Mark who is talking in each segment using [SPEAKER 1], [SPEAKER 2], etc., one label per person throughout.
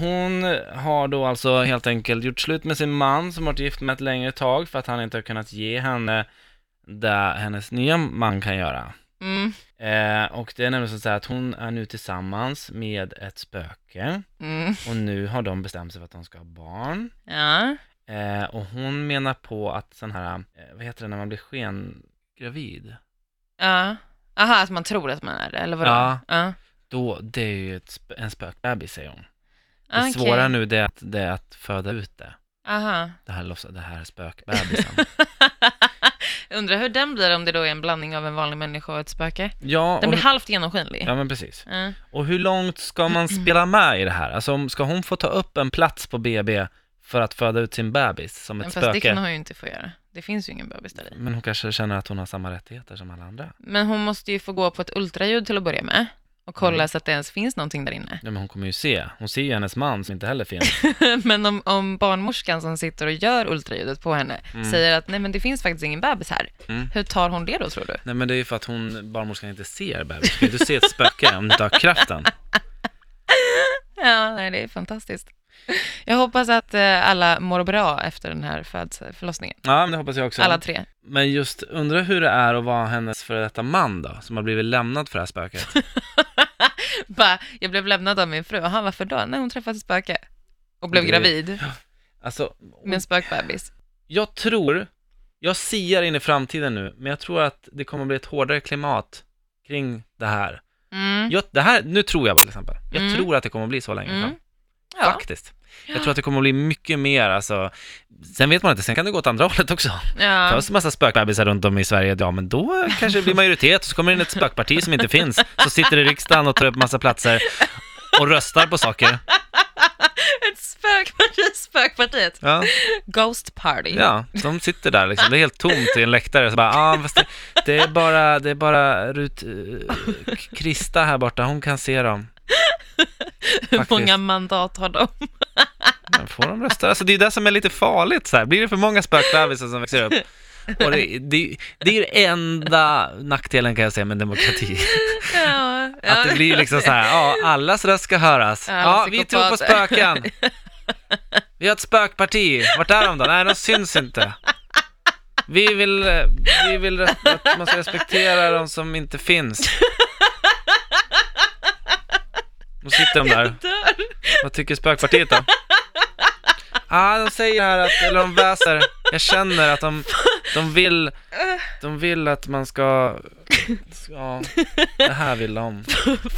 [SPEAKER 1] hon har då alltså helt enkelt gjort slut med sin man som varit gift med ett längre tag för att han inte har kunnat ge henne det hennes nya man kan göra.
[SPEAKER 2] Mm.
[SPEAKER 1] Eh, och det är nämligen så här att hon är nu tillsammans med ett spöke
[SPEAKER 2] Mm.
[SPEAKER 1] och nu har de bestämt sig för att de ska ha barn.
[SPEAKER 2] Ja.
[SPEAKER 1] Eh, och hon menar på att sån här, eh, vad heter det när man blir skengravid?
[SPEAKER 2] Ja. Aha, att man tror att man är det, eller vadå?
[SPEAKER 1] Ja.
[SPEAKER 2] ja.
[SPEAKER 1] Då, det är ju ett, sp- en spökbebis säger hon. Det
[SPEAKER 2] Ah, Okej.
[SPEAKER 1] svåra nu det är, att, det är att föda ut det.
[SPEAKER 2] Aha.
[SPEAKER 1] Det här, låtsas- det här är spökbebisen.
[SPEAKER 2] Undrar hur den blir om det då är en blandning av en vanlig människa och ett spöke.
[SPEAKER 1] ja,
[SPEAKER 2] Den
[SPEAKER 1] och,
[SPEAKER 2] blir halvt genomskinlig.
[SPEAKER 1] ja, men precis.
[SPEAKER 2] Ja.
[SPEAKER 1] Och hur långt ska man spela med i det här? Alltså om- ska hon få ta upp en plats på BB för att föda ut sin bebis som ett
[SPEAKER 2] Men fast det
[SPEAKER 1] spöke?
[SPEAKER 2] kan hon ju inte få göra. Det finns ju ingen bebis där i.
[SPEAKER 1] Men hon kanske känner att hon har samma rättigheter som alla andra.
[SPEAKER 2] Men hon måste ju få gå på ett ultraljud till att börja med och kolla
[SPEAKER 1] Mm.
[SPEAKER 2] så att det ens finns någonting där inne.
[SPEAKER 1] Ja, men hon kommer ju se. Hon ser ju hennes man som inte heller finns.
[SPEAKER 2] men om, om barnmorskan som sitter och gör ultraljudet på henne
[SPEAKER 1] Mm.
[SPEAKER 2] säger att nej men det finns faktiskt ingen bebis här,
[SPEAKER 1] Mm.
[SPEAKER 2] hur tar hon det då tror du?
[SPEAKER 1] Nej men det är ju för att hon, barnmorskan inte ser bebis. Du ser ett spöke om du inte har kraften.
[SPEAKER 2] Ja, nej det är fantastiskt. Jag hoppas att eh, alla mår bra efter den här föds- förlossningen.
[SPEAKER 1] Ja, men det hoppas jag också.
[SPEAKER 2] Alla tre.
[SPEAKER 1] Men just undra hur det är att vara hennes före detta man då, som har blivit lämnad för det här spöket.
[SPEAKER 2] Bara, jag blev lämnad av min fru, Aha, varför då? Nej, hon träffade ett spöke och blev
[SPEAKER 1] Det-
[SPEAKER 2] gravid
[SPEAKER 1] Alltså,
[SPEAKER 2] med en spökbebis.
[SPEAKER 1] jag tror, jag siar in i framtiden nu, men jag tror att det kommer bli ett hårdare klimat kring det här.
[SPEAKER 2] Mm.
[SPEAKER 1] Jag, det här, nu tror jag bara till exempel. Jag
[SPEAKER 2] Mm.
[SPEAKER 1] tror att det kommer bli så länge
[SPEAKER 2] Mm.
[SPEAKER 1] fram,
[SPEAKER 2] Ja.
[SPEAKER 1] faktiskt. Jag tror att det kommer bli mycket mer, alltså, sen vet man inte, sen kan det gå åt andra hållet också.
[SPEAKER 2] Ja.
[SPEAKER 1] Först massa spökbebisar runt om i Sverige, ja men då kanske det blir majoritet, och så kommer det in ett spökparti som inte finns, så sitter i riksdagen och tar upp massa platser och röstar på saker.
[SPEAKER 2] Ett spökparti, spökpartiet.
[SPEAKER 1] Ja,
[SPEAKER 2] Ghost party.
[SPEAKER 1] ja de sitter där liksom, det är helt tomt i en läktare, så bara, ah, fast det, det är bara, det är bara Rut, eh, K- Krista här borta, hon kan se dem.
[SPEAKER 2] Hur
[SPEAKER 1] Faktiskt.
[SPEAKER 2] många mandat har de?
[SPEAKER 1] Men får de rösta? Alltså det är det som är lite farligt så här. blir det för många spökbebisar som växer upp? Och det, det, det är det enda nackdelen kan jag säga med demokrati.
[SPEAKER 2] Ja, ja.
[SPEAKER 1] Att det blir liksom så här, ja, allas röst ska höras.
[SPEAKER 2] Ja,
[SPEAKER 1] Ja,
[SPEAKER 2] alla
[SPEAKER 1] vi tror på
[SPEAKER 2] psykopater.
[SPEAKER 1] spöken. Vi har ett spökparti. Vart är de då? Nej, de syns inte. Vi vill, eh, vi vill res- att man ska respektera de som inte finns. Då sitter de där.
[SPEAKER 2] dör.
[SPEAKER 1] Vad tycker spökpartiet då? Ah, de säger här att, eller de väser, jag känner att de, de vill, de vill att man ska, ja, det här vill de.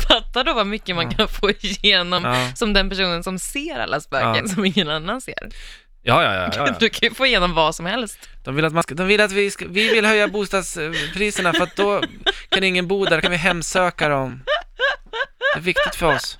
[SPEAKER 2] Fattar du vad mycket man
[SPEAKER 1] Ja.
[SPEAKER 2] kan få igenom
[SPEAKER 1] Ja.
[SPEAKER 2] som den personen som ser alla spöken
[SPEAKER 1] Ja.
[SPEAKER 2] som ingen annan ser?
[SPEAKER 1] Ja, ja, ja, ja, ja.
[SPEAKER 2] Du kan ju få igenom vad som helst.
[SPEAKER 1] De vill att, man ska, de vill att vi, ska, vi vill höja bostadspriserna för att då kan ingen bo där, då kan vi hemsöka dem. Det är viktigt för oss.